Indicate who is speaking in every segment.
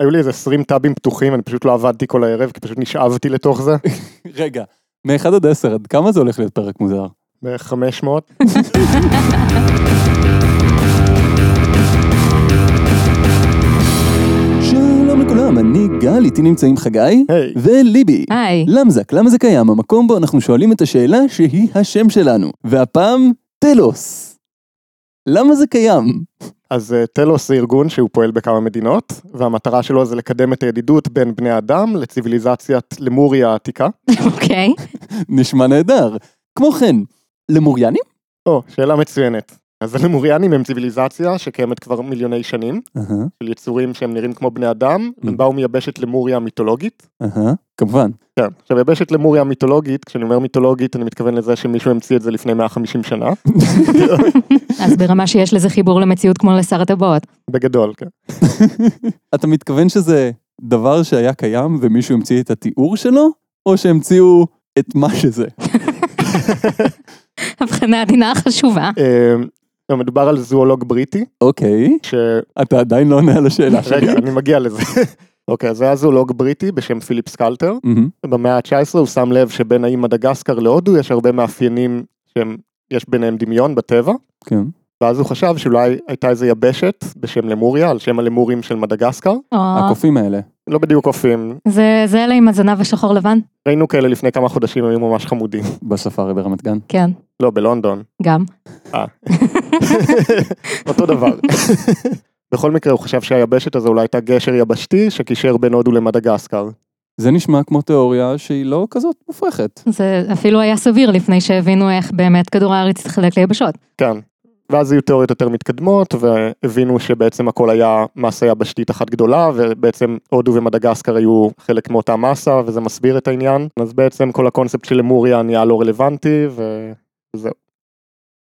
Speaker 1: היו לי איזה 20 טאבים פתוחים, אני פשוט לא עבדתי כל הערב, כי פשוט נשאבתי לתוך זה,
Speaker 2: רגע, מ-1 עד 10, עד כמה זה הולך להיות פרק מוזר?
Speaker 1: בערך 500.
Speaker 2: שלום לכולם, אני גל, איתי נמצאים חגי
Speaker 1: היי.
Speaker 2: וליבי.
Speaker 3: היי.
Speaker 2: למזק, למה זה קיים? המקום בו אנחנו שואלים את השאלה שהיא השם שלנו. והפעם, טלוס. למה זה קיים?
Speaker 1: אז אה, טלוס זה ארגון שהוא פועל בכמה מדינות, והמטרה שלו זה לקדם את הידידות בין בני אדם לציוויליזציית למוריה העתיקה.
Speaker 3: אוקיי.
Speaker 2: נשמע נהדר. כמו כן, למוריאנים?
Speaker 1: או, שאלה מצוינת. אז הלמוריאנים הם ציוויליזציה שקיימת כבר מיליוני שנים,
Speaker 2: אהה,
Speaker 1: של יצורים שהם נראים כמו בני אדם,
Speaker 2: Mm.
Speaker 1: הם באו מיבשת למוריה המיתולוגית.
Speaker 2: אהה, כמובן.
Speaker 1: כן, עכשיו יבשת למוריה המיתולוגית, כשאני אומר מיתולוגית אני מתכוון לזה שמישהו המציא את זה לפני 150 שנה,
Speaker 3: אז ברמה שיש לזה חיבור למציאות כמו לשר הטבעות.
Speaker 1: בגדול, כן.
Speaker 2: אתה מתכוון שזה דבר שהיה קיים ומישהו המציא את התיאור שלו? או שהמציאו את מה שזה?
Speaker 3: הבחנה עדינה חשובה.
Speaker 1: אה, לא, מדובר על זואולוג בריטי,
Speaker 2: אוקיי,
Speaker 1: ש...
Speaker 2: אתה עדיין לא עונה על השאלה שלי.
Speaker 1: רגע, אני מגיע לזה. אוקיי, אז היה זואולוג בריטי בשם פיליפ סקלטר,
Speaker 2: מהמם,
Speaker 1: במאה ה-19 הוא שם לב שבין האי מדגסקר להודו יש הרבה מאפיינים שהם, יש ביניהם דמיון בטבע,
Speaker 2: כן.
Speaker 1: ואז הוא חשב שאולי הייתה איזה יבשת בשם למוריה, על שם הלמורים של מדגסקר,
Speaker 3: או,
Speaker 2: הקופים האלה.
Speaker 1: לא בדיוק קופים,
Speaker 3: זה זה אלה עם הזנב השחור לבן?
Speaker 1: ראינו כאלה לפני כמה חודשים, הם היו ממש חמודים,
Speaker 2: בספארי ברמת גן.
Speaker 3: כן,
Speaker 1: לא, בלונדון.
Speaker 3: גם.
Speaker 1: אותו דבר. בכל מקרה הוא חשב שהיבשת הזו אולי הייתה גשר יבשתי שקישר בין הודו למדגסקר.
Speaker 2: זה נשמע כמו תיאוריה שהיא לא כזאת מופרכת.
Speaker 3: זה אפילו היה סביר לפני שהבינו איך באמת כדור הארץ התחלק ליבשות.
Speaker 1: כן. ואז היו תיאוריות יותר מתקדמות והבינו שבעצם הכל היה מסה יבשתית אחת גדולה ובעצם הודו ומדגסקר היו חלק מאותה מסה וזה מסביר את העניין אז בעצם כל הקונספט של למוריה נהיה לא רלוונטי וזהו.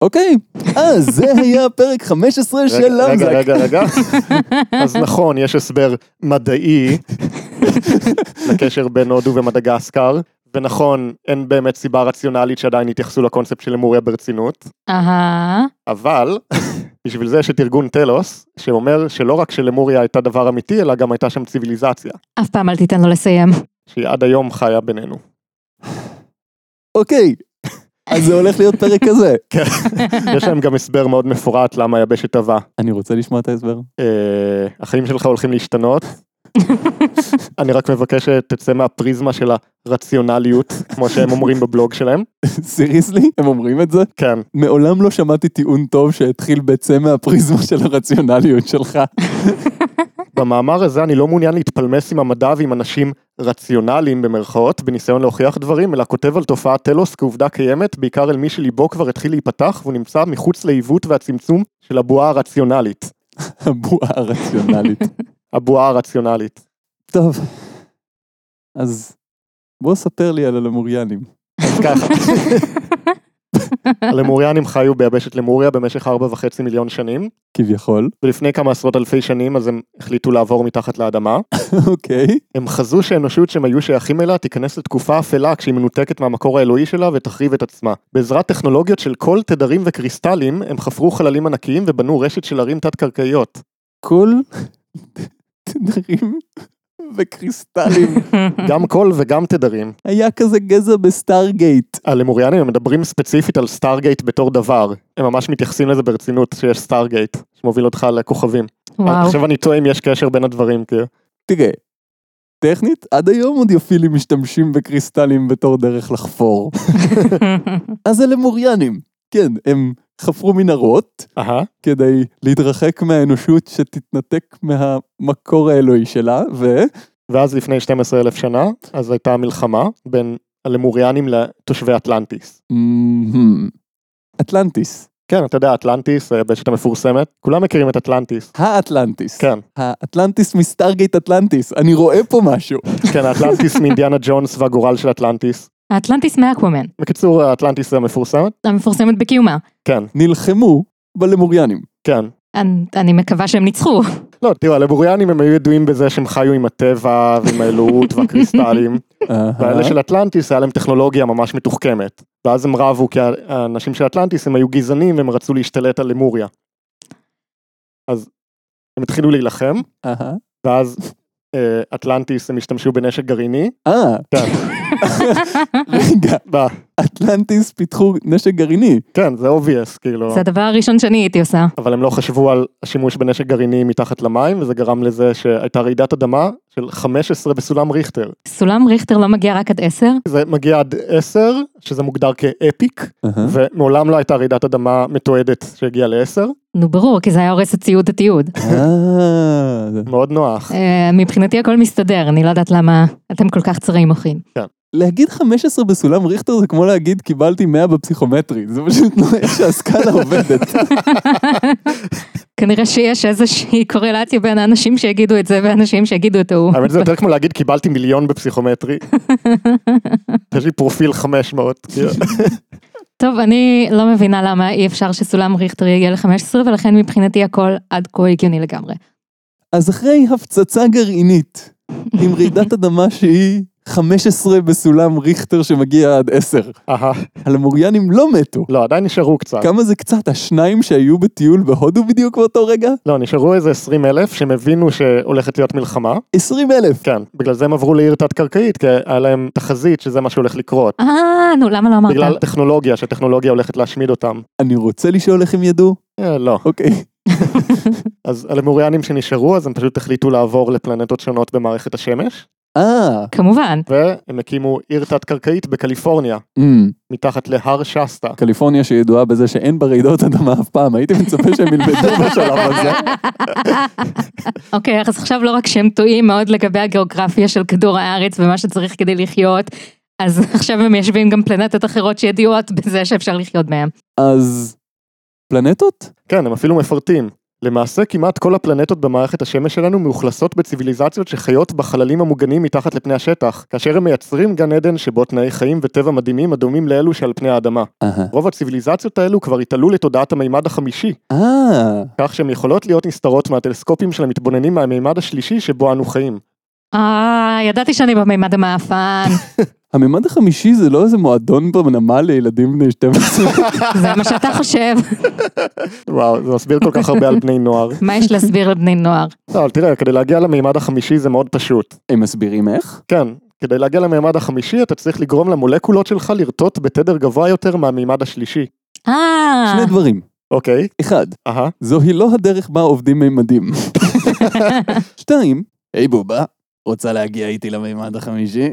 Speaker 2: אוקיי, אז זה היה פרק 15 של
Speaker 1: רגע, רגע
Speaker 2: למזק.
Speaker 1: רגע רגע אז נכון יש הסבר מדעי לקשר בין הודו ומדגסקר ונכון אין באמת סיבה רציונלית שעדיין התייחסו לקונספט של למוריה ברצינות
Speaker 3: אהה,
Speaker 1: אבל בשביל זה יש את ארגון טלוס שאומר שלא רק שלמוריה הייתה דבר אמיתי אלא גם הייתה שם ציוויליזציה
Speaker 3: אף פעם אל תיתן לו לסיים.
Speaker 1: שהיא עד היום חיה בינינו.
Speaker 2: אוקיי, אז זה הולך להיות פרק כזה.
Speaker 1: יש להם גם הסבר מאוד מפורט למה היבשת טבעה.
Speaker 2: אני רוצה לשמוע את ההסבר.
Speaker 1: אה, החיים שלך הולכים להשתנות. אני רק מבקש שתצא מהפריזמה של הרציונליות כמו שהם אומרים בבלוג שלהם.
Speaker 2: סיריסלי? הם אומרים את זה?
Speaker 1: כן
Speaker 2: מעולם לא שמעתי טיעון טוב שהתחיל בצא מהפריזמה של הרציונליות שלך.
Speaker 1: במאמר הזה אני לא מעוניין להתפלמס עם המדע ועם אנשים רציונליים במרכאות, בניסיון להוכיח דברים, אלא כותב על תופעת טלוס כעובדה קיימת, בעיקר אל מי שליבו כבר התחיל להיפתח והוא נמצא מחוץ לעיוות והצמצום של הבועה הרציונלית.
Speaker 2: הבועה הרציונלית.
Speaker 1: הבועה הרציונלית.
Speaker 2: טוב, אז בוא ספר לי על הלמוריאנים.
Speaker 1: אז ככה, הלמוריאנים חיו ביבשת למוריה במשך ארבע וחצי מיליון שנים,
Speaker 2: כביכול.
Speaker 1: ולפני כמה עשרות אלפי שנים אז הם החליטו לעבור מתחת לאדמה.
Speaker 2: אוקיי.
Speaker 1: הם חזו שהאנושות שהם היו שייכים אליה תיכנס לתקופה אפלה כשהיא מנותקת מהמקור האלוהי שלה ותחריב את עצמה. בעזרת טכנולוגיות של כל תדרים וקריסטלים, הם חפרו חללים ענקיים ובנו רשת של ערים תת-קרקעיות.
Speaker 2: כל תדרים וקריסטלים.
Speaker 1: גם קול וגם תדרים.
Speaker 2: היה כזה גזע בסטארגייט.
Speaker 1: הלמוריאנים הם מדברים ספציפית על סטארגייט בתור דבר. הם ממש מתייחסים לזה ברצינות שיש סטארגייט, שמוביל אותך לכוכבים.
Speaker 3: וואו.
Speaker 1: עכשיו אני תוהה אם יש קשר בין הדברים, כי...
Speaker 2: תראה, טכנית, עד היום אודיופילים משתמשים בקריסטלים בתור דרך לחפור. אז אלה מוריאנים. כן, הם חפרו מנהרות
Speaker 1: אהה.
Speaker 2: כדי להתרחק מהאנושות שתתנתק מהמקור האלוהי שלה, ו...
Speaker 1: ואז לפני 12 אלף שנה, אז הייתה מלחמה בין הלמוריאנים לתושבי אטלנטיס.
Speaker 2: מהמם. אטלנטיס.
Speaker 1: כן, אתה יודע, אטלנטיס, היבשת המפורסמת, כולם מכירים את אטלנטיס.
Speaker 2: האטלנטיס.
Speaker 1: כן,
Speaker 2: האטלנטיס מסטארגייט אטלנטיס. אני רואה פה משהו.
Speaker 1: כן, האטלנטיס מאינדיאנה ג'ונס והגורל של אטלנטיס.
Speaker 3: האטלנטיס מאקוואמן,
Speaker 1: בקיצור, האטלנטיס המפורסמת,
Speaker 3: המפורסמת בקיומה.
Speaker 1: כן,
Speaker 2: נלחמו בלמוריאנים.
Speaker 1: כן.
Speaker 3: אני- אני מקווה שהם ניצחו.
Speaker 1: לא, תראו, הלבוריאנים הם היו ידועים בזה שהם חיו עם הטבע ועם האלוהות והקריסטלים, והאלה של אטלנטיס היה להם טכנולוגיה ממש מתוחכמת. ואז הם רבו, כי האנשים של אטלנטיס הם היו גזענים והם רצו להשתלט על למוריה. אז הם התחילו להילחם,
Speaker 2: אהה.
Speaker 1: ואז אה, אטלנטיס הם השתמשו בנשק גרעיני.
Speaker 2: אה,
Speaker 1: כן,
Speaker 2: רגע,
Speaker 1: ב-
Speaker 2: אטלנטיס פיתחו נשק גרעיני.
Speaker 1: כן, זה obvious, כאילו.
Speaker 3: זה הדבר הראשון שאני הייתי עושה.
Speaker 1: אבל הם לא חשבו על השימוש בנשק גרעיני מתחת למים, וזה גרם לזה שהייתה רעידת אדמה של 15 בסולם ריכטר.
Speaker 3: סולם ריכטר לא מגיע רק עד עשר?
Speaker 1: זה מגיע עד 10, שזה מוגדר כאפיק,
Speaker 2: אהה.
Speaker 1: ומעולם לא הייתה רעידת אדמה מתועדת שהגיעה ל-10,
Speaker 3: נו ברור, כי זה היה הורס את ציוד התיעוד.
Speaker 2: אה, זה-
Speaker 1: מאוד נוח.
Speaker 3: אה, מבחינתי הכל מסתדר, אני לא יודעת למה אתם כל כך צרי מוחין.
Speaker 2: להגיד 15 בסולם ריכטר זה כמו להגיד קיבלתי 100 בפסיכומטרי, זה פשוט לא איך שהסקאלה עובדת.
Speaker 3: כנראה שיש איזושהי קורלציה בין האנשים שיגידו את זה ואנשים שיגידו את ההוא.
Speaker 1: האמת זה יותר כמו להגיד קיבלתי מיליון בפסיכומטרי. יש לי פרופיל 500. כאילו.
Speaker 3: טוב, אני לא מבינה למה אי אפשר שסולם ריכטר יגיע ל-15 ולכן מבחינתי הכל עד כה הגיוני לגמרי.
Speaker 2: אז אחרי הפצצה גרעינית, עם רעידת אדמה שהיא 15 בסולם ריכטר שמגיע עד 10,
Speaker 1: אהה.
Speaker 2: הלמוריאנים לא מתו.
Speaker 1: לא, עדיין נשארו קצת.
Speaker 2: כמה זה קצת, השניים שהיו בטיול בהודו בדיוק באותו רגע?
Speaker 1: לא, נשארו איזה 20 אלף שהם הבינו שהולכת להיות מלחמה.
Speaker 2: 20 אלף.
Speaker 1: כן, בגלל זה הם עברו לעיר תת-קרקעית, כי היה להם תחזית שזה מה שהולך לקרות.
Speaker 3: אה, נו, למה לא אמרת?
Speaker 1: בגלל טכנולוגיה, שהטכנולוגיה הולכת להשמיד אותם.
Speaker 2: אני רוצה לשאול איך הם ידעו?
Speaker 1: אה, לא.
Speaker 2: אוקיי.
Speaker 1: אז הלמוריאנים שנשארו, אז הם פשוט החליטו לעבור לפלנטות שונות במערכת השמש,
Speaker 2: אה,
Speaker 3: כמובן.
Speaker 1: והם הקימו עיר תת-קרקעית בקליפורניה,
Speaker 2: אמ,
Speaker 1: מתחת להר שסטה.
Speaker 2: קליפורניה שידועה בזה שאין בה רעידות אדמה אף פעם, הייתי מצפה שהם ילמדו בשלב הזה.
Speaker 3: אוקיי, אז עכשיו לא רק שהם טועים מאוד לגבי הגיאוגרפיה של כדור הארץ ומה שצריך כדי לחיות, אז עכשיו הם מיישבים גם פלנטות אחרות שידועות בזה שאפשר לחיות מהן.
Speaker 2: אז פלנטות?
Speaker 1: כן, הם אפילו מפרטים. למעשה כמעט כל הפלנטות במערכת השמש שלנו מאוכלסות בציוויליזציות שחיות בחללים המוגנים מתחת לפני השטח, כאשר הם מייצרים גן עדן שבו תנאי חיים וטבע מדהימים הדומים לאלו שעל פני האדמה.
Speaker 2: אהה.
Speaker 1: רוב הציוויליזציות האלו כבר התעלו לתודעת המימד החמישי,
Speaker 2: אה,
Speaker 1: כך שהן יכולות להיות נסתרות מהטלסקופים של המתבוננים מהמימד השלישי שבו אנו חיים.
Speaker 3: אה, ידעתי שאני במימד המאפן,
Speaker 2: הממד החמישי זה לא איזה מועדון בנמל לילדים בני 12.
Speaker 3: זה מה שאתה חושב,
Speaker 1: וואו, זה מסביר כל כך הרבה על בני נוער.
Speaker 3: מה יש להסביר לבני נוער?
Speaker 1: לא, אבל תראה, כדי להגיע למימד החמישי זה מאוד פשוט.
Speaker 2: הם מסבירים איך?
Speaker 1: כן, כדי להגיע למימד החמישי אתה צריך לגרום למולקולות שלך לרטוט בתדר גבוה יותר מהמימד השלישי.
Speaker 3: אה,
Speaker 2: שני דברים.
Speaker 1: אוקיי,
Speaker 2: אחד,
Speaker 1: אהה,
Speaker 2: זוהי לא הדרך בה עובדים מימדים. שתיים, היי בובה, רוצה להגיע איתי למימד החמישי?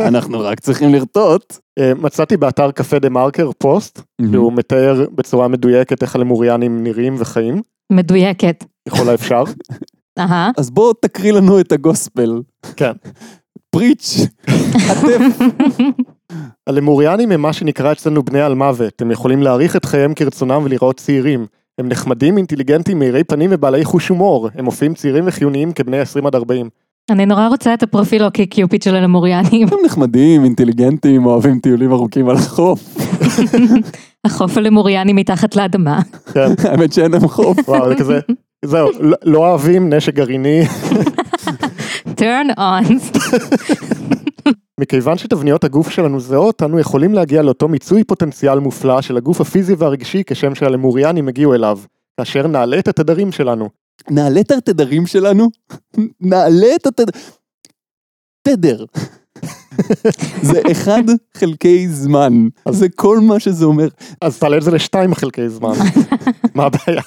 Speaker 2: אנחנו רק צריכים לרטוט.
Speaker 1: אה, מצאתי באתר קפה דה מרקר פוסט, שהוא מתאר בצורה מדויקת איך הלמוריאנים נראים וחיים,
Speaker 3: מדויקת.
Speaker 1: ככל האפשר.
Speaker 3: אהה,
Speaker 2: אז בוא תקריא לנו את הגוספל.
Speaker 1: כן.
Speaker 2: פריץ', עטף.
Speaker 1: הלמוריאנים הם מה שנקרא אצלנו בני על מוות, הם יכולים להאריך את חייהם כרצונם ולהיראות צעירים. הם נחמדים, אינטליגנטים, מאירי פנים ובעלי חוש הומור, הם מופיעים צעירים וחיוניים כבני 20 עד 40.
Speaker 3: אני נורא רוצה את הפרופיל אוקי קיופיד של הלמוריאנים,
Speaker 2: הם נחמדים, אינטליגנטים, אוהבים טיולים ארוכים על החוף.
Speaker 3: החוף הלמוריאני מתחת לאדמה.
Speaker 1: כן,
Speaker 2: האמת שאין להם חוף.
Speaker 1: וואו, זה כזה, זהו, לא- לא אוהבים נשק גרעיני,
Speaker 3: turn on.
Speaker 1: מכיוון שתבניות הגוף שלנו זהות, אנו יכולים להגיע לאותו מיצוי פוטנציאל מופלא של הגוף הפיזי והרגשי כשם שהלמוריאנים הגיעו אליו, כאשר נעלה את התדרים שלנו.
Speaker 2: נעלה את התדרים שלנו, נעלה את התדר... תדר. זה אחד חלקי זמן, זה כל מה שזה אומר.
Speaker 1: אז תעלה את זה לשתיים חלקי זמן. מה הבעיה?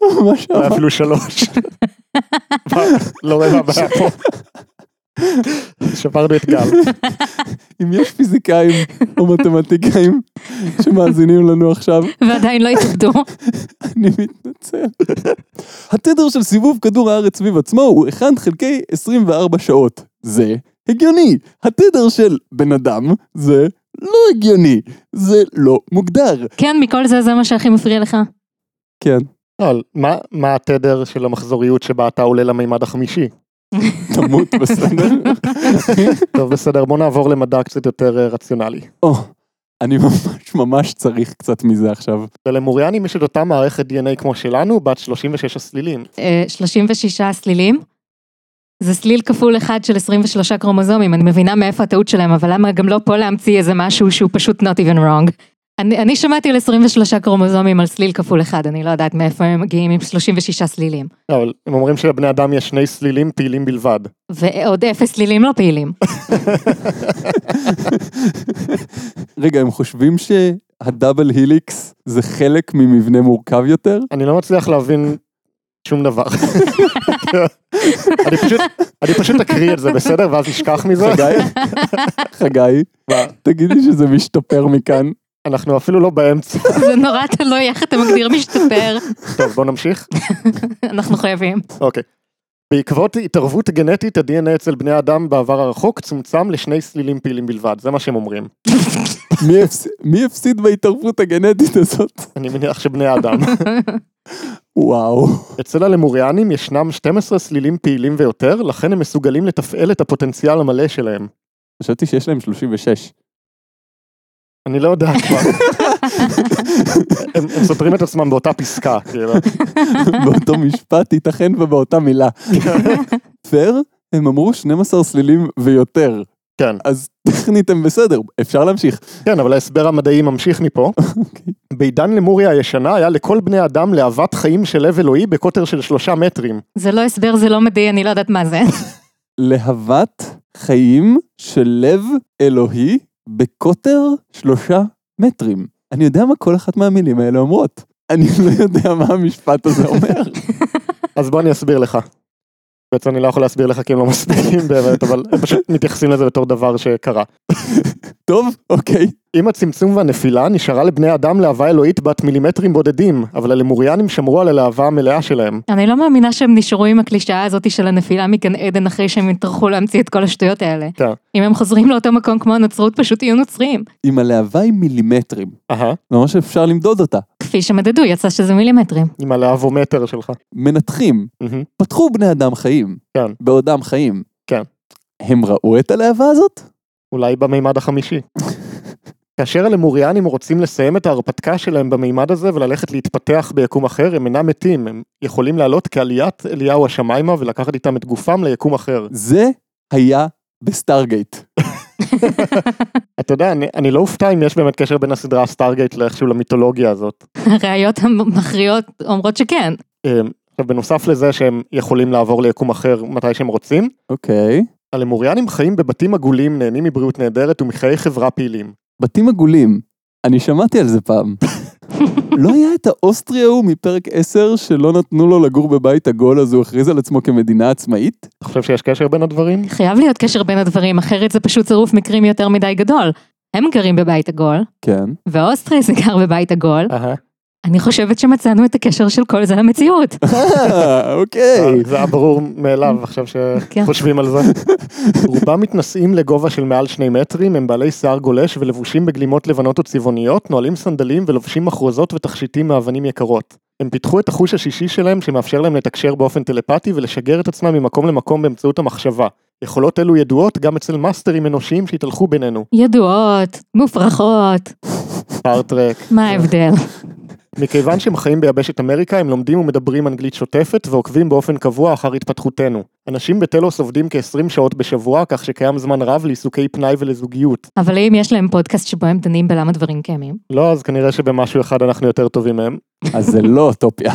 Speaker 2: מה שאמר-
Speaker 1: אולי אפילו שלוש. מה, לא רואה מה הבעיה פה. שברנו את גל.
Speaker 2: אם יש פיזיקאים או מתמטיקאים שמאזינים לנו עכשיו,
Speaker 3: ועדיין לא התאבדו.
Speaker 2: אני מתנצל. התדר של סיבוב כדור הארץ סביב עצמו הוא 1 חלקי 24 שעות. זה הגיוני. התדר של בן אדם זה לא הגיוני. זה לא מוגדר.
Speaker 3: כן, מכל זה זה מה שהכי מפריע לך.
Speaker 2: כן.
Speaker 1: אבל לא, מה- מה התדר של המחזוריות שבה אתה עולה למימד החמישי?
Speaker 2: תמות בסדר.
Speaker 1: טוב בסדר בוא נעבור למדע קצת יותר אה, רציונלי.
Speaker 2: או, אני ממש ממש צריך קצת מזה עכשיו.
Speaker 1: ללמוריאנים יש את אותה מערכת DNA כמו שלנו בת 36 הסלילים.
Speaker 3: אה, 36 סלילים. זה סליל כפול אחד של 23 קרומוזומים, אני מבינה מאיפה הטעות שלהם, אבל למה גם לא פה להמציא איזה משהו שהוא פשוט not even wrong. אני, אני שמעתי על 23 קרומוזומים על סליל כפול אחד, אני לא יודעת מאיפה הם מגיעים עם 36 סלילים.
Speaker 1: לא, אבל הם אומרים שלבני אדם יש שני סלילים פעילים בלבד.
Speaker 3: ועוד אפס סלילים לא פעילים.
Speaker 2: רגע, הם חושבים שהדאבל היליקס זה חלק ממבנה מורכב יותר?
Speaker 1: אני לא מצליח להבין שום דבר. אני פשוט, אני פשוט אקריא את זה בסדר ואז נשכח מזה.
Speaker 2: חגי, חגי,
Speaker 1: מה?
Speaker 2: תגיד לי שזה משתפר מכאן.
Speaker 1: אנחנו אפילו לא באמצע.
Speaker 3: זה נורא תלוי איך אתה מגדיר משתפר,
Speaker 1: טוב בוא נמשיך.
Speaker 3: אנחנו חייבים.
Speaker 1: אוקיי. בעקבות התערבות גנטית ה-DNA אצל בני האדם בעבר הרחוק צומצם לשני סלילים פעילים בלבד זה מה שהם אומרים.
Speaker 2: מי הפס- מי הפסיד בהתערבות הגנטית הזאת?
Speaker 1: אני מניח שבני האדם.
Speaker 2: וואו.
Speaker 1: אצל הלמוריאנים ישנם 12 סלילים פעילים ויותר לכן הם מסוגלים לתפעל את הפוטנציאל המלא שלהם.
Speaker 2: חשבתי שיש להם 36.
Speaker 1: אני לא יודע כבר. הם, הם סותרים את עצמם באותה פסקה כאילו.
Speaker 2: באותו משפט ייתכן ובאותה מילה. פייר, הם אמרו 12 סלילים ויותר.
Speaker 1: כן.
Speaker 2: אז טכנית הם בסדר, אפשר להמשיך.
Speaker 1: כן, אבל ההסבר המדעי ממשיך מפה.
Speaker 2: אוקיי.
Speaker 1: בעידן למוריה הישנה היה לכל בני אדם להבת חיים של לב אלוהי בקוטר של שלושה מטרים.
Speaker 3: זה לא הסבר, זה לא מדעי, אני לא יודעת מה זה.
Speaker 2: להבת חיים של לב אלוהי בקוטר שלושה מטרים. אני יודע מה כל אחת מהמילים האלה אומרות. אני לא יודע מה המשפט הזה אומר.
Speaker 1: אז בוא אני אסביר לך. בעצם אני לא יכול להסביר לך כי הם לא מסבירים באמת, אבל הם פשוט מתייחסים לזה בתור דבר שקרה.
Speaker 2: טוב, אוקיי.
Speaker 1: עם הצמצום והנפילה נשארה לבני אדם להבה אלוהית בת מילימטרים בודדים, אבל הלמוריאנים שמרו על הלהבה המלאה שלהם.
Speaker 3: אני לא מאמינה שהם נשארו עם הקלישאה הזאת של הנפילה מגן עדן אחרי שהם יטרחו להמציא את כל השטויות האלה.
Speaker 1: כן.
Speaker 3: אם הם חוזרים לאותו מקום כמו הנצרות, פשוט יהיו נוצרים.
Speaker 2: אם הלהבה היא מילימטרים,
Speaker 1: אהה,
Speaker 2: ממש אפשר למדוד אותה.
Speaker 3: כפי שמדדו, יצא שזה מילימטרים.
Speaker 1: עם הלהבומטר שלך.
Speaker 2: מנתחים,
Speaker 1: מהמם.
Speaker 2: פתחו בני אדם חיים.
Speaker 1: כן.
Speaker 2: בעודם חיים.
Speaker 1: כן.
Speaker 2: הם ראו את הלהבה הזאת?
Speaker 1: אולי במימד החמישי. כאשר הלמוריאנים רוצים לסיים את ההרפתקה שלהם במימד הזה וללכת להתפתח ביקום אחר, הם אינם מתים, הם יכולים לעלות כעליית אליהו השמיימה ולקחת איתם את גופם ליקום אחר.
Speaker 2: זה היה בסטארגייט.
Speaker 1: אתה יודע, אני, אני לא אופתע אם יש באמת קשר בין הסדרה סטארגייט לאיכשהו למיתולוגיה הזאת.
Speaker 3: הראיות המכריעות אומרות שכן.
Speaker 1: אמ, עכשיו, בנוסף לזה שהם יכולים לעבור ליקום אחר מתי שהם רוצים,
Speaker 2: אוקיי.
Speaker 1: הלמוריאנים חיים בבתים עגולים, נהנים מבריאות נהדרת ומחיי חברה פעילים.
Speaker 2: בתים עגולים. אני שמעתי על זה פעם. לא היה את האוסטרי ההוא מפרק 10 שלא נתנו לו לגור בבית עגול אז הוא הכריז על עצמו כמדינה עצמאית?
Speaker 1: אתה חושב שיש קשר בין הדברים?
Speaker 3: חייב להיות קשר בין הדברים, אחרת זה פשוט צירוף מקרים יותר מדי גדול. הם גרים בבית עגול,
Speaker 2: כן.
Speaker 3: ואוסטרי זה גר בבית עגול.
Speaker 1: אהה.
Speaker 3: אני חושבת שמצאנו את הקשר של כל זה למציאות.
Speaker 2: אה, אוקיי.
Speaker 1: זה היה ברור מאליו עכשיו
Speaker 3: כן.
Speaker 1: שחושבים על זה. רובם מתנשאים לגובה של מעל שני מטרים, הם בעלי שיער גולש ולבושים בגלימות לבנות וצבעוניות, נועלים סנדלים ולובשים מחרוזות ותכשיטים מאבנים יקרות. הם פיתחו את החוש השישי שלהם שמאפשר להם לתקשר באופן טלפתי ולשגר את עצמם ממקום למקום באמצעות המחשבה. יכולות אלו ידועות גם אצל מאסטרים אנושיים שהתהלכו בינינו.
Speaker 3: ידועות, מופרכות,
Speaker 1: סטארטרק.
Speaker 3: מה ההבדל?
Speaker 1: מכיוון שהם חיים ביבשת אמריקה, הם לומדים ומדברים אנגלית שוטפת ועוקבים באופן קבוע אחר התפתחותנו. אנשים בטלוס עובדים כ-20 שעות בשבוע, כך שקיים זמן רב לעיסוקי פנאי ולזוגיות.
Speaker 3: אבל אם יש להם פודקאסט שבו הם דנים בלמה דברים קיימים,
Speaker 1: לא, אז כנראה שבמשהו אחד אנחנו יותר טובים מהם.
Speaker 2: אז זה לא אוטופיה.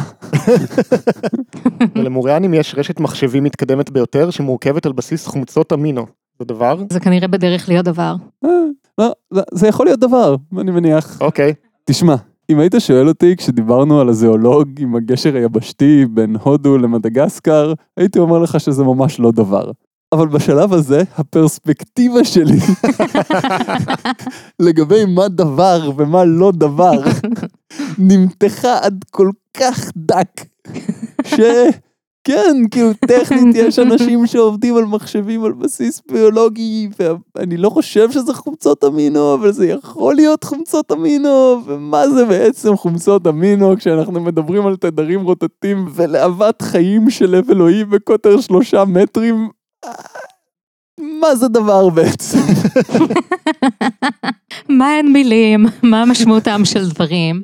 Speaker 1: ולמוריאנים יש רשת מחשבים מתקדמת ביותר, שמורכבת על בסיס חומצות אמינו. זה דבר?
Speaker 3: זה כנראה בדרך להיות דבר.
Speaker 2: אה, לא, לא, זה יכול להיות דבר, אני מניח.
Speaker 1: אוקיי.
Speaker 2: תשמע, אם היית שואל אותי כשדיברנו על הזואולוג עם הגשר היבשתי בין הודו למדגסקר, הייתי אומר לך שזה ממש לא דבר. אבל בשלב הזה, הפרספקטיבה שלי לגבי מה דבר ומה לא דבר, נמתחה עד כל כך דק, שכן, כאילו טכנית יש אנשים שעובדים על מחשבים על בסיס ביולוגי, ואני לא חושב שזה חומצות אמינו, אבל זה יכול להיות חומצות אמינו, ומה זה בעצם חומצות אמינו כשאנחנו מדברים על תדרים רוטטים ולהבת חיים של לב אלוהי בקוטר שלושה מטרים? אה, מה זה דבר בעצם?
Speaker 3: מה הן מילים? מה משמעותם של דברים?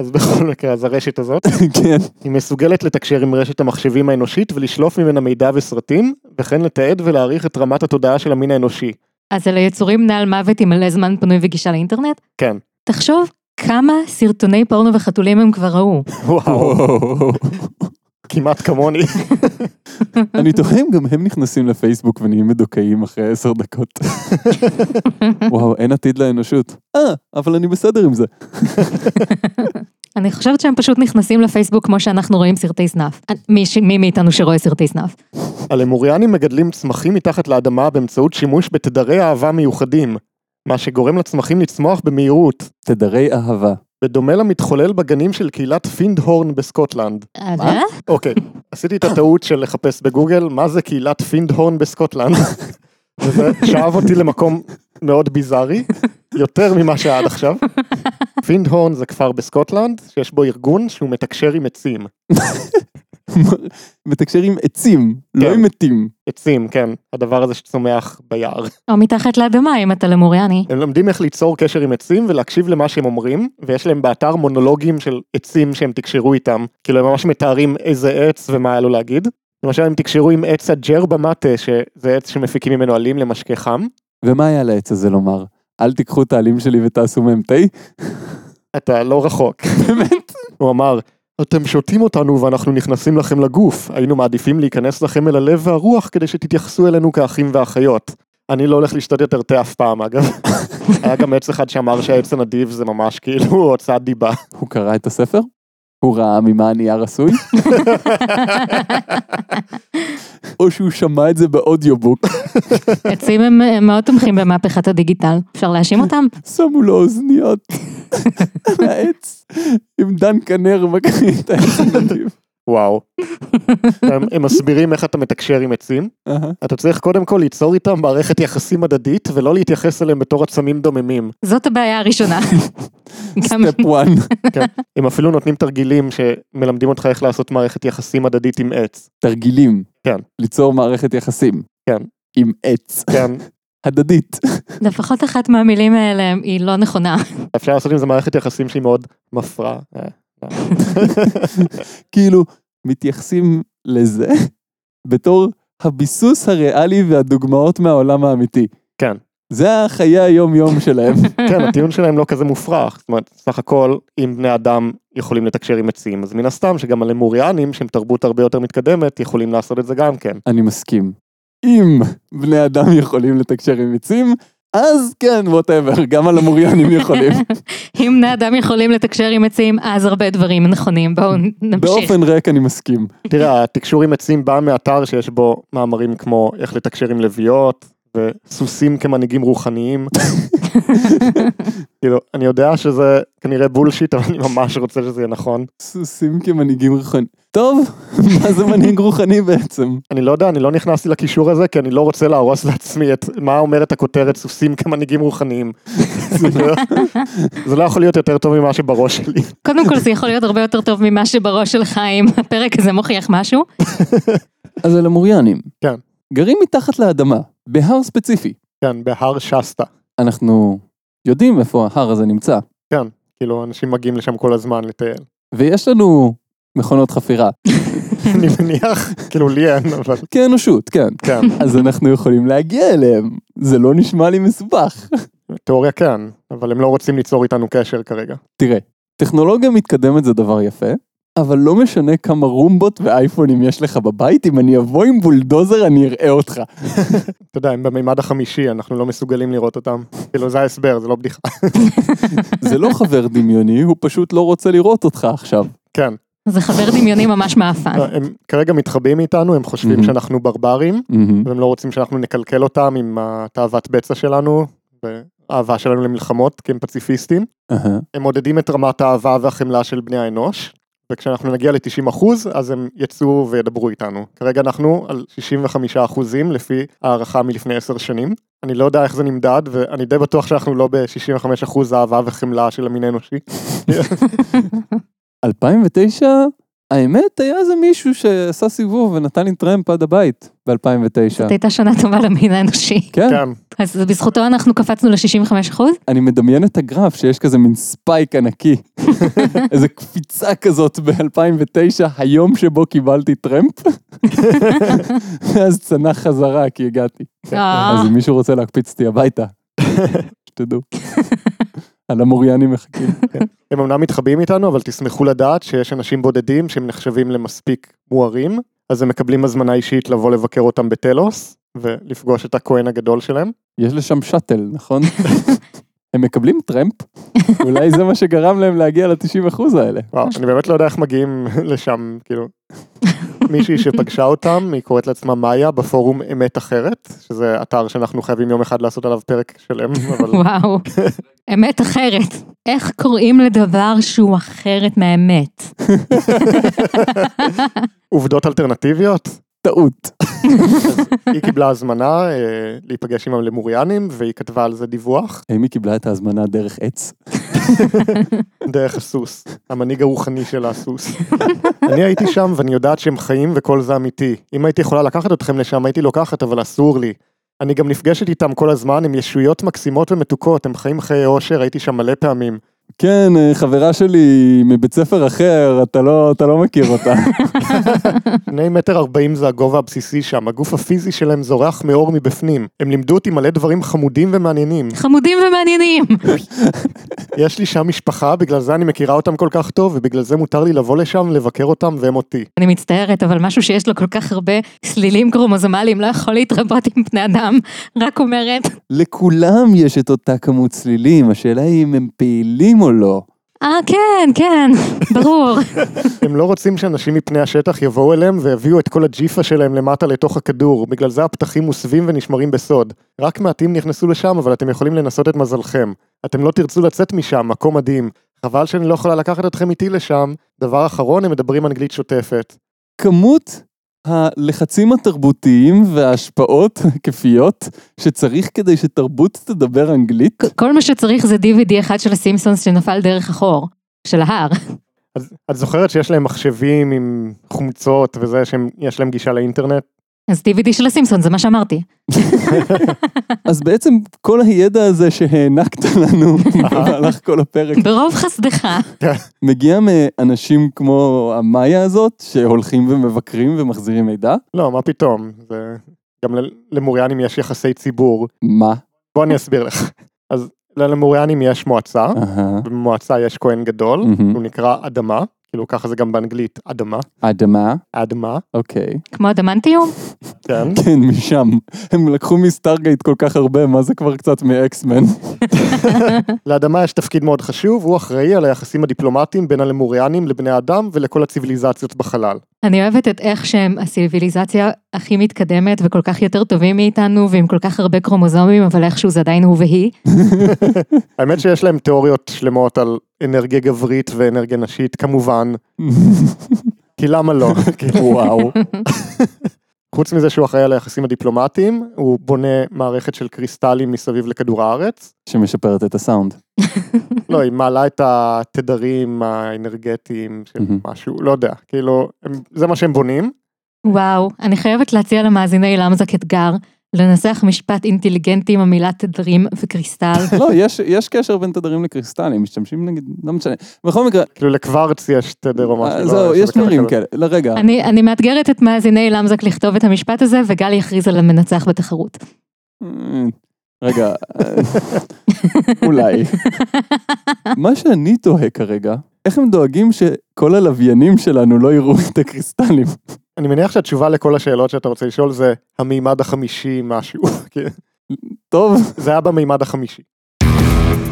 Speaker 1: אז בכל מקרה, אז הרשת הזאת,
Speaker 2: כן.
Speaker 1: היא מסוגלת לתקשר עם רשת המחשבים האנושית ולשלוף ממנה מידע וסרטים, וכן לתעד ולהעריך את רמת התודעה של המין האנושי.
Speaker 3: אז על היצורים נעל מוות עם מלא זמן פנוי וגישה לאינטרנט?
Speaker 1: כן.
Speaker 3: תחשוב כמה סרטוני פורנו וחתולים הם כבר ראו.
Speaker 1: וואו, כמעט כמוני.
Speaker 2: אני תוהה אם גם הם נכנסים לפייסבוק ונהיים מדוכאים אחרי עשר דקות. וואו, אין עתיד לאנושות. אה, אבל אני בסדר עם זה.
Speaker 3: אני חושבת שהם פשוט נכנסים לפייסבוק כמו שאנחנו רואים סרטי סנאף. מי, ש- מי מאיתנו שרואה סרטי סנאף?
Speaker 1: הלמוריאנים מגדלים צמחים מתחת לאדמה באמצעות שימוש בתדרי אהבה מיוחדים, מה שגורם לצמחים לצמוח במהירות,
Speaker 2: תדרי אהבה.
Speaker 1: בדומה למתחולל בגנים של קהילת פינדהורן בסקוטלנד.
Speaker 3: אה,
Speaker 1: אוקיי, עשיתי את הטעות של לחפש בגוגל מה זה קהילת פינדהורן בסקוטלנד, וזה שאב אותי למקום מאוד ביזארי, יותר ממה שהיה עד עכשיו. פינדהורן זה כפר בסקוטלנד, שיש בו ארגון שהוא מתקשר עם עצים.
Speaker 2: מתקשר עם עצים, לא
Speaker 1: כן.
Speaker 2: עם מתים.
Speaker 1: עצים, כן, הדבר הזה שצומח ביער.
Speaker 3: או מתחת לאדמה אם אתה למוריאני.
Speaker 1: הם לומדים איך ליצור קשר עם עצים ולהקשיב למה שהם אומרים, ויש להם באתר מונולוגים של עצים שהם תקשרו איתם. כאילו הם ממש מתארים איזה עץ ומה היה לו להגיד. למשל הם תקשרו עם עץ הג'רבה מטה, שזה עץ שמפיקים ממנו עלים למשקה חם.
Speaker 2: ומה היה לעץ הזה לומר? אל תיקחו את העלים שלי ותעשו מהם תה?
Speaker 1: אתה לא רחוק.
Speaker 2: באמת?
Speaker 1: הוא אמר, אתם שותים אותנו ואנחנו נכנסים לכם לגוף. היינו מעדיפים להיכנס לכם אל הלב והרוח כדי שתתייחסו אלינו כאחים ואחיות. אני לא הולך לשתות יותר תה אף פעם אגב. היה גם עץ אחד שאמר שהעץ הנדיב זה ממש כאילו הוצאת דיבה.
Speaker 2: הוא קרא את הספר? הוא ראה ממה הנייר עשוי? או שהוא שמע את זה באודיובוק,
Speaker 3: עצים הם, הם מאוד תומכים במהפכת הדיגיטל. אפשר להאשים אותם?
Speaker 2: שמו לו אוזניות על העץ, עם דן כנר מקריא את העץ הנדיב.
Speaker 1: וואו. הם, הם מסבירים איך אתה מתקשר עם עצים.
Speaker 2: אהה.
Speaker 1: אתה צריך קודם כל ליצור איתם מערכת יחסים הדדית ולא להתייחס אליהם בתור עצמים דוממים.
Speaker 3: זאת הבעיה הראשונה. גם
Speaker 2: סטפ וואן.
Speaker 1: הם אפילו נותנים תרגילים שמלמדים אותך איך לעשות מערכת יחסים הדדית עם עץ.
Speaker 2: תרגילים.
Speaker 1: כן.
Speaker 2: ליצור מערכת יחסים.
Speaker 1: כן.
Speaker 2: עם עץ.
Speaker 1: כן,
Speaker 2: הדדית.
Speaker 3: לפחות אחת מהמילים האלה היא לא נכונה.
Speaker 1: אפשר לעשות עם זה מערכת יחסים שהיא מאוד מפרה. אה, אה.
Speaker 2: כאילו, מתייחסים לזה בתור הביסוס הריאלי והדוגמאות מהעולם האמיתי.
Speaker 1: כן.
Speaker 2: זה החיי היום-יום שלהם.
Speaker 1: כן, הטיעון שלהם לא כזה מופרך. זאת אומרת, סך הכל, אם בני אדם יכולים לתקשר עם עצים, אז מן הסתם שגם הלמוריאנים, שהם תרבות הרבה יותר מתקדמת, יכולים לעשות את זה גם כן.
Speaker 2: אני מסכים. אם בני אדם יכולים לתקשר עם עצים, אז כן, ווטאבר, גם הלמוריאנים יכולים.
Speaker 3: אם בני אדם יכולים לתקשר עם עצים, אז הרבה דברים נכונים. בואו נמשיך.
Speaker 2: באופן ריק אני מסכים.
Speaker 1: תראה, התקשור עם עצים בא מאתר שיש בו מאמרים כמו איך לתקשר עם לביאות וסוסים כמנהיגים רוחניים. כאילו, אני יודע שזה כנראה בולשיט, אבל אני ממש רוצה שזה יהיה נכון.
Speaker 2: סוסים כמנהיגים רוחניים. טוב, מה זה מנהיג רוחני בעצם?
Speaker 1: אני לא יודע, אני לא נכנסתי לקישור הזה, כי אני לא רוצה להרוס לעצמי את מה אומרת הכותרת סוסים כמנהיגים רוחניים. זה לא- זה לא יכול להיות יותר טוב ממה שבראש שלי.
Speaker 3: קודם כל זה יכול להיות הרבה יותר טוב ממה שבראש שלך אם הפרק הזה מוכיח משהו.
Speaker 2: אז הלמוריאנים.
Speaker 1: כן.
Speaker 2: גרים מתחת לאדמה, בהר ספציפי.
Speaker 1: כן, בהר שסטה.
Speaker 2: אנחנו יודעים איפה ההר הזה נמצא,
Speaker 1: כאילו, אנשים מגיעים לשם כל הזמן לטייל.
Speaker 2: ויש לנו מכונות חפירה.
Speaker 1: אני מניח, כאילו לי אין, אבל
Speaker 2: כאנושות, כן.
Speaker 1: כן.
Speaker 2: אז אנחנו יכולים להגיע אליהם. זה לא נשמע לי מסובך.
Speaker 1: תיאוריה כן, אבל הם לא רוצים ליצור איתנו קשר כרגע.
Speaker 2: תראה, טכנולוגיה מתקדמת זה דבר יפה, אבל לא משנה כמה רומבות ואייפונים יש לך בבית, אם אני אבוא עם בולדוזר אני אראה אותך.
Speaker 1: אתה יודע, הם במימד החמישי, אנחנו לא מסוגלים לראות אותם. כאילו, זה ההסבר, זה לא בדיחה.
Speaker 2: זה לא חבר דמיוני, הוא פשוט לא רוצה לראות אותך עכשיו.
Speaker 1: כן, לא,
Speaker 3: זה חבר דמיוני ממש מעפן.
Speaker 2: אה.
Speaker 1: הם כרגע מתחבאים מאיתנו, הם חושבים
Speaker 2: מהמם.
Speaker 1: שאנחנו ברברים,
Speaker 2: מהמם.
Speaker 1: והם לא רוצים שאנחנו נקלקל אותם עם התאוות בצע שלנו, והאהבה שלנו למלחמות, כי הם פציפיסטים.
Speaker 2: אהה.
Speaker 1: הם מודדים את רמת האהבה והחמלה של בני האנוש, וכשאנחנו נגיע ל-90% אז הם יצאו וידברו איתנו. כרגע אנחנו על 65% לפי הערכה מלפני 10 שנים. אני לא יודע איך זה נמדד, ואני די בטוח שאנחנו לא ב-65% אהבה וחמלה של המין האנושי.
Speaker 2: 2009 האמת, היה איזה מישהו שעשה סיבוב ונתן לי טרמפ עד הבית ב-2009.
Speaker 3: זאת הייתה שנה טובה למין האנושי.
Speaker 2: כן,
Speaker 1: כן.
Speaker 3: אז בזכותו אנחנו קפצנו ל-65 אחוז?
Speaker 2: אני מדמיין את הגרף שיש כזה מין ספייק ענקי. איזה קפיצה כזאת ב-2009, היום שבו קיבלתי טרמפ. ואז צנח חזרה כי הגעתי. כן,
Speaker 3: אה,
Speaker 2: אז אם מישהו רוצה להקפיץ אותי הביתה, שתדעו. על המוריינים מחכים.
Speaker 1: הם אמנם מתחבאים איתנו, אבל תשמחו לדעת שיש אנשים בודדים שהם נחשבים למספיק מוארים, אז הם מקבלים הזמנה אישית לבוא לבקר אותם בטלוס, ולפגוש את הכהן הגדול שלהם.
Speaker 2: יש לשם שאטל, נכון? הם מקבלים טרמפ? אולי זה מה שגרם להם להגיע ל-90% האלה.
Speaker 1: וואו, אני באמת לא יודע איך מגיעים לשם, כאילו. מישהי שפגשה אותם, היא קוראת לעצמה מאיה בפורום אמת אחרת, שזה אתר שאנחנו חייבים יום אחד לעשות עליו פרק שלם, אבל
Speaker 3: וואו. אמת אחרת. איך קוראים לדבר שהוא אחרת מהאמת?
Speaker 1: עובדות אלטרנטיביות.
Speaker 2: טעות.
Speaker 1: היא קיבלה הזמנה אה, להיפגש עם המוריינים, והיא כתבה על זה דיווח,
Speaker 2: אמי קיבלה את ההזמנה דרך עץ.
Speaker 1: דרך הסוס, המנהיג הרוחני של הסוס. אני הייתי שם ואני יודעת שהם חיים וכל זה אמיתי. אם הייתי יכולה לקחת אתכם לשם הייתי לוקחת, אבל אסור לי. אני גם נפגשת איתם כל הזמן, הם ישויות מקסימות ומתוקות, הם חיים חיי אושר, הייתי שם מלא פעמים.
Speaker 2: כן, אה, חברה שלי מבית ספר אחר, אתה לא, אתה לא מכיר אותה.
Speaker 1: שני מטר ארבעים זה הגובה הבסיסי שם, הגוף הפיזי שלהם זורח מאור מבפנים. הם לימדו אותי מלא דברים חמודים ומעניינים.
Speaker 3: חמודים ומעניינים.
Speaker 1: יש לי שם משפחה, בגלל זה אני מכירה אותם כל כך טוב, ובגלל זה מותר לי לבוא לשם, לבקר אותם והם אותי.
Speaker 3: אני מצטערת, אבל משהו שיש לו כל כך הרבה סלילים קרומוזומליים לא יכול להתרבות עם בני אדם, רק אומרת,
Speaker 2: לכולם יש את אותה כמות צלילים, השאלה היא אם הם פעילים או לא.
Speaker 3: אה, כן, כן, ברור.
Speaker 1: הם לא רוצים שאנשים מפני השטח יבואו אליהם ויביאו את כל הג'יפה שלהם למטה לתוך הכדור, בגלל זה הפתחים מוסווים ונשמרים בסוד. רק מעטים נכנסו לשם, אבל אתם יכולים לנסות את מזלכם. אתם לא תרצו לצאת משם, מקום מדהים. חבל שאני לא יכולה לקחת אתכם איתי לשם. דבר אחרון, הם מדברים אנגלית שוטפת.
Speaker 2: כמות הלחצים התרבותיים וההשפעות הכיפיות שצריך כדי שתרבות תדבר אנגלית,
Speaker 3: כל מה שצריך זה DVD אחד של הסימפסונס שנפל דרך החור, של ההר.
Speaker 1: אז את זוכרת שיש להם מחשבים עם חומצות וזה, שיש להם גישה לאינטרנט?
Speaker 3: אז DVD של הסימפסונס, זה מה שאמרתי.
Speaker 2: אז בעצם כל הידע הזה שהענקת לנו במהלך כל הפרק
Speaker 3: ברוב חסדך.
Speaker 2: מגיע מאנשים כמו המאיה הזאת, שהולכים ומבקרים ומחזירים מידע.
Speaker 1: לא, מה פתאום? זה... גם ל- למוריאנים יש יחסי ציבור.
Speaker 2: מה?
Speaker 1: בוא אני אסביר לך. אז ללמוריאנים יש מועצה,
Speaker 2: אהה.
Speaker 1: במועצה יש כהן גדול,
Speaker 2: מהמם.
Speaker 1: הוא נקרא אדמה, כאילו ככה זה גם באנגלית אדמה,
Speaker 2: אדמה,
Speaker 1: אדמה,
Speaker 2: אוקיי.
Speaker 3: כמו אדמנטיום?
Speaker 1: כן.
Speaker 2: כן, משם. הם לקחו מסטארגייט כל כך הרבה, מה זה כבר קצת מאקסמן?
Speaker 1: לאדמה יש תפקיד מאוד חשוב, הוא אחראי על היחסים הדיפלומטיים בין הלמוריאנים לבני האדם ולכל הציוויליזציות בחלל.
Speaker 3: אני אוהבת את איך שהם הסיביליזציה הכי מתקדמת וכל כך יותר טובים מאיתנו ועם כל כך הרבה קרומוזומים, אבל איכשהו זה עדיין הוא והיא.
Speaker 1: האמת שיש להם תיאוריות שלמות על אנרגיה גברית ואנרגיה נשית, כמובן, כי למה לא? כאילו,
Speaker 2: וואו.
Speaker 1: חוץ מזה שהוא אחראי על היחסים הדיפלומטיים, הוא בונה מערכת של קריסטלים מסביב לכדור הארץ.
Speaker 2: שמשפרת את הסאונד.
Speaker 1: לא, היא מעלה את התדרים האנרגטיים של
Speaker 2: מהמם.
Speaker 1: משהו, לא יודע, כאילו, הם, זה מה שהם בונים.
Speaker 3: וואו, אני חייבת להציע למאזיני למזק אתגר, לנסח משפט אינטליגנטי עם המילה תדרים וקריסטל.
Speaker 2: לא, יש- יש קשר בין תדרים לקריסטלים, משתמשים נגיד, לא משנה. בכל מקרה,
Speaker 1: כאילו לקוורץ יש תדר או משהו.
Speaker 2: אה,
Speaker 1: לא,
Speaker 2: זהו, יש
Speaker 1: איזה קטע
Speaker 2: דברים
Speaker 1: כזה.
Speaker 2: כאלה. לא, לרגע,
Speaker 3: אני, אני מאתגרת את מאזיני למזק לכתוב את המשפט הזה, וגל יכריז על המנצח בתחרות.
Speaker 2: אה, רגע, אה, אולי. מה שאני תוהה כרגע, איך הם דואגים שכל הלוויינים שלנו לא יראו את הקריסטלים?
Speaker 1: אני מניח שהתשובה לכל השאלות שאתה רוצה לשאול זה המימד החמישי משהו. כן.
Speaker 2: טוב.
Speaker 1: זה היה במימד החמישי.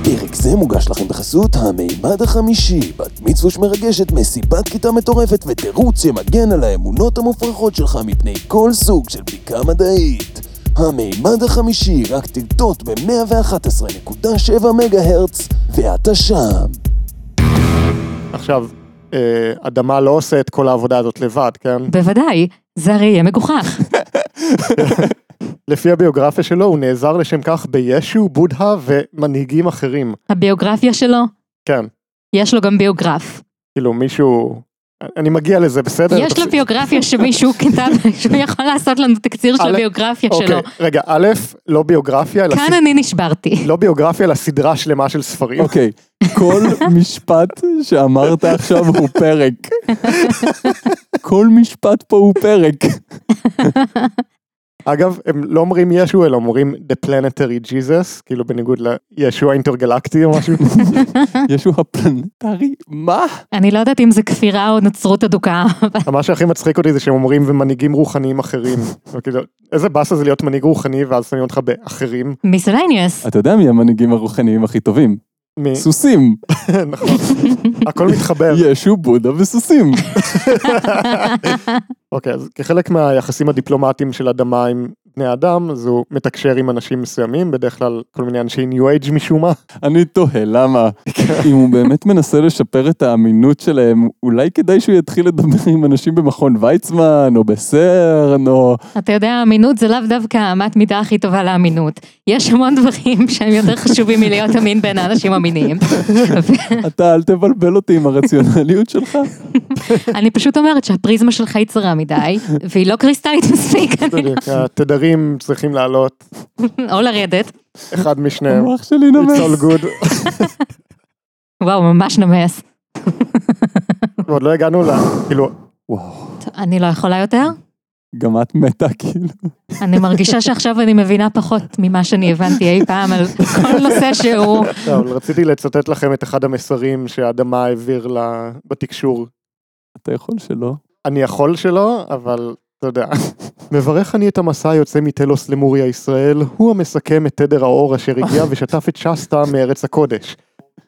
Speaker 4: פרק זה מוגש לכם בחסות המימד החמישי, בת מצווש מרגשת, מסיבת כיתה מטורפת ותירוץ שמגן על האמונות המופרכות שלך מפני כל סוג של בדיקה מדעית. המימד החמישי, רק תרטוט ב-111.7 מגה הרץ, ואתה שם.
Speaker 1: עכשיו, אה, אדמה לא עושה את כל העבודה הזאת לבד, כן?
Speaker 3: בוודאי, זה הרי יהיה מגוחך.
Speaker 1: לפי הביוגרפיה שלו הוא נעזר לשם כך בישו, בודהה ומנהיגים אחרים.
Speaker 3: הביוגרפיה שלו,
Speaker 1: כן,
Speaker 3: יש לו גם ביוגרף.
Speaker 1: כאילו מישהו אני מגיע לזה, בסדר?
Speaker 3: יש לו ביוגרפיה שמישהו כתב, שהוא יכול לעשות לנו תקציר של
Speaker 1: א',
Speaker 3: הביוגרפיה שלו. כן,
Speaker 1: אוקיי, רגע, א', לא ביוגרפיה, אלא
Speaker 3: כאן אני נשברתי.
Speaker 1: לא ביוגרפיה, אלא סדרה שלמה של ספרים.
Speaker 2: אוקיי, כל משפט שאמרת עכשיו הוא פרק. כל משפט פה הוא פרק.
Speaker 1: אגב, הם לא אומרים ישו, אלא אומרים The Planetary Jesus, כאילו בניגוד לישו האינטרגלקטי או משהו.
Speaker 2: ישו הפלנטרי, מה?
Speaker 3: אני לא יודעת אם זה כפירה או נצרות אדוקה, אבל
Speaker 1: מה שהכי מצחיק אותי זה שהם אומרים ומנהיגים רוחניים אחרים. וכאילו, איזה באסה זה להיות מנהיג רוחני ואז שמים אותך באחרים.
Speaker 3: מיסלניאס.
Speaker 2: אתה יודע מי המנהיגים הרוחניים הכי טובים?
Speaker 1: מ-
Speaker 2: סוסים.
Speaker 1: נכון. הכל מתחבר.
Speaker 2: ישו, בודה וסוסים.
Speaker 1: אוקיי, אז כחלק מהיחסים הדיפלומטיים של אדמה עם בני אדם, אז הוא מתקשר עם אנשים מסוימים, בדרך כלל כל מיני אנשי ניו אייג' משום מה.
Speaker 2: אני תוהה למה.
Speaker 1: כן.
Speaker 2: אם הוא באמת מנסה לשפר את האמינות שלהם, אולי כדאי שהוא יתחיל לדבר עם אנשים במכון ויצמן, או בסרן, או...
Speaker 3: אתה יודע, אמינות זה לאו דווקא האמת מידה הכי טובה לאמינות. יש המון דברים שהם יותר חשובים מלהיות אמין בין האנשים המיניים.
Speaker 2: אתה, אל תבלבל אותי עם הרציונליות שלך.
Speaker 3: אני פשוט אומרת שהפריזמה שלך היא צרה מדי, והיא לא קריסטלית מספיק, אני-
Speaker 1: בדיוק, התדרים צריכים לעלות,
Speaker 3: או לרדת.
Speaker 1: אחד משניהם.
Speaker 2: המוח שלי
Speaker 1: כן. It's all
Speaker 2: נמס.
Speaker 1: good.
Speaker 3: וואו, ממש נמס.
Speaker 1: ועוד לא הגענו ל... כאילו,
Speaker 2: וואו,
Speaker 3: טוב, אני לא יכולה יותר.
Speaker 2: גם את מתה, כאילו.
Speaker 3: אני מרגישה שעכשיו אני מבינה פחות ממה שאני הבנתי אי פעם על כל נושא שהוא.
Speaker 1: לא, אבל רציתי לצטט לכם את אחד המסרים שהאדמה העביר לה בתקשור.
Speaker 2: אתה יכול שלא.
Speaker 1: אני יכול שלא, אבל אתה יודע. מברך אני את המסע היוצא מתלוס למוריה ישראל, הוא המסכם את תדר האור אשר הגיע ושטף את שסטה מארץ הקודש.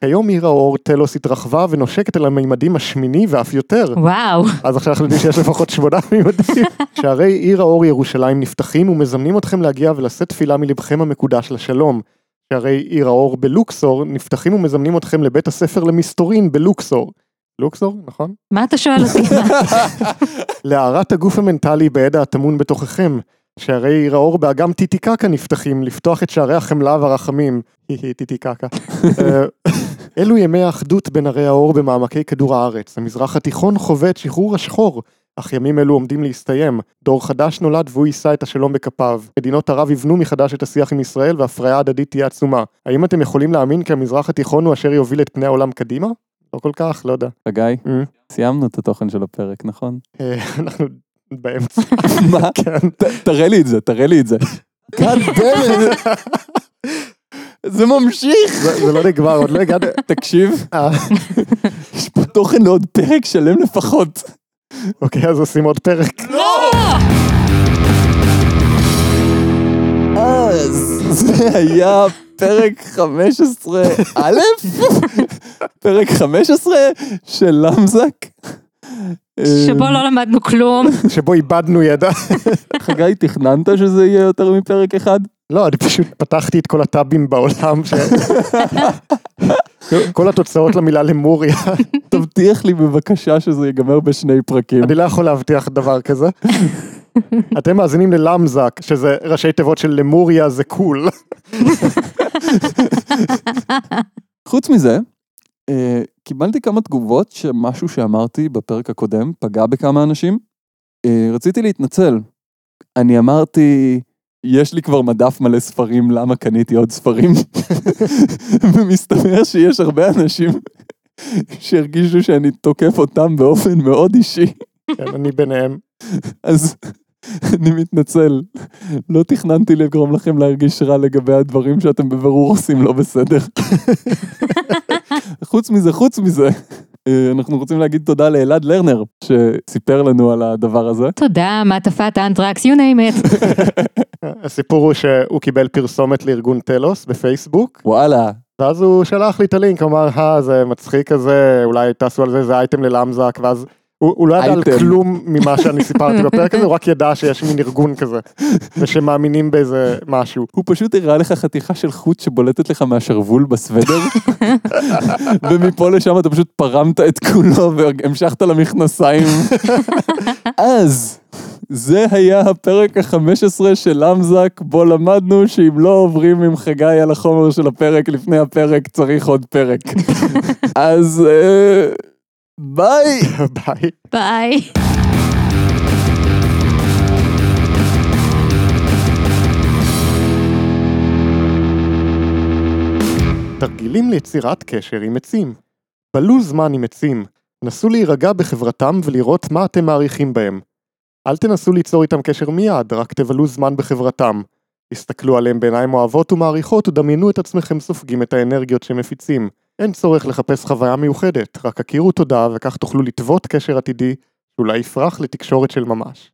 Speaker 1: כיום עיר האור תלוס התרחבה ונושקת אל הממדים השמיני ואף יותר.
Speaker 3: וואו,
Speaker 1: אז עכשיו אנחנו יודעים שיש לפחות שמונה מימדים. שערי עיר האור ירושלים נפתחים ומזמנים אתכם להגיע ולשאת תפילה מלבכם המקודש לשלום. שערי עיר האור בלוקסור נפתחים ומזמנים אתכם לבית הספר למסתורין בלוקסור. לוקסור, נכון?
Speaker 3: מה אתה שואל אותי? מה?
Speaker 1: להערת הגוף המנטלי בידע הטמון בתוככם. שערי עיר האור באגם טיטיקקה נפתחים, לפתוח את שערי החמלה והרחמים. היהי, טיטיקקה. אה, אלו ימי האחדות בין ערי האור במעמקי כדור הארץ. המזרח התיכון חווה את שחרור השחור, אך ימים אלו עומדים להסתיים. דור חדש נולד והוא יישא את השלום בכפיו. מדינות ערב יבנו מחדש את השיח עם ישראל וההפריה ההדדית תהיה עצומה. האם אתם יכולים להאמין כי המזרח התיכון הוא אשר יוביל את פני העולם קדימה? לא כל כך, לא יודע.
Speaker 2: חגי,
Speaker 1: אה.
Speaker 2: סיימנו את התוכן של הפרק, נכון?
Speaker 1: אה, אנחנו באמצע.
Speaker 2: מה?
Speaker 1: כן.
Speaker 2: ת- תראה לי את זה, תראה לי את זה. God damn it. זה ממשיך!
Speaker 1: זה זה לא נגמר, עוד לא הגענו.
Speaker 2: תקשיב,
Speaker 1: אה,
Speaker 2: יש פה תוכן לעוד פרק שלם לפחות.
Speaker 1: אוקיי, אז עושים עוד פרק.
Speaker 2: אז זה היה פרק 15 א', פרק 15 של למזק. אה,
Speaker 3: שבו לא למדנו כלום.
Speaker 1: שבו איבדנו ידע.
Speaker 2: חגי, תכננת שזה יהיה יותר מפרק אחד?
Speaker 1: לא, אני פשוט פתחתי את כל הטאבים בעולם. ש- כל התוצאות למילה למוריה.
Speaker 2: תבטיח לי בבקשה שזה ייגמר בשני פרקים.
Speaker 1: אני לא יכול להבטיח דבר כזה. אתם מאזינים ללמזק, שזה ראשי תיבות של למוריה זה קול.
Speaker 2: חוץ מזה, אה, קיבלתי כמה תגובות שמשהו שאמרתי בפרק הקודם פגע בכמה אנשים. אה, רציתי להתנצל. אני אמרתי, יש לי כבר מדף מלא ספרים, למה קניתי עוד ספרים? ומסתבר שיש הרבה אנשים שהרגישו שאני תוקף אותם באופן מאוד אישי.
Speaker 1: כן, אני ביניהם.
Speaker 2: אז אני מתנצל. לא תכננתי לגרום לכם להרגיש רע לגבי הדברים שאתם בבירור עושים לא בסדר. חוץ מזה, חוץ מזה, אה, אנחנו רוצים להגיד תודה לאלעד לרנר, שסיפר לנו על הדבר הזה.
Speaker 3: תודה, מעטפת האנטרקס, you name it.
Speaker 1: הסיפור הוא שהוא קיבל פרסומת לארגון טלוס בפייסבוק,
Speaker 2: וואלה,
Speaker 1: ואז הוא שלח לי את הלינק, הוא אמר, אה, זה מצחיק כזה, אולי תעשו על זה, זה אייטם ללמזק, ואז הוא, הוא לא ידע על
Speaker 2: אייטם.
Speaker 1: כלום ממה שאני סיפרתי בפרק הזה, הוא רק ידע שיש מין ארגון כזה, ושמאמינים באיזה משהו.
Speaker 2: הוא פשוט הראה לך חתיכה של חוט שבולטת לך מהשרוול בסוודר, ומפה לשם אתה פשוט פרמת את כולו והמשכת למכנסיים. אז, זה היה הפרק ה-15 של למזק, בו למדנו שאם לא עוברים עם חגי על החומר של הפרק לפני הפרק, צריך עוד פרק. אז... אה, ביי!
Speaker 1: ביי.
Speaker 3: ביי.
Speaker 1: תרגילים ליצירת קשר עם עצים. בלו זמן עם עצים. נסו להירגע בחברתם ולראות מה אתם מעריכים בהם. אל תנסו ליצור איתם קשר מיד, רק תבלו זמן בחברתם. הסתכלו עליהם בעיניים אוהבות ומעריכות ודמיינו את עצמכם סופגים את האנרגיות שהם מפיצים. אין צורך לחפש חוויה מיוחדת, רק הכירו תודה וכך תוכלו לטוות קשר עתידי שאולי יפרח לתקשורת של ממש.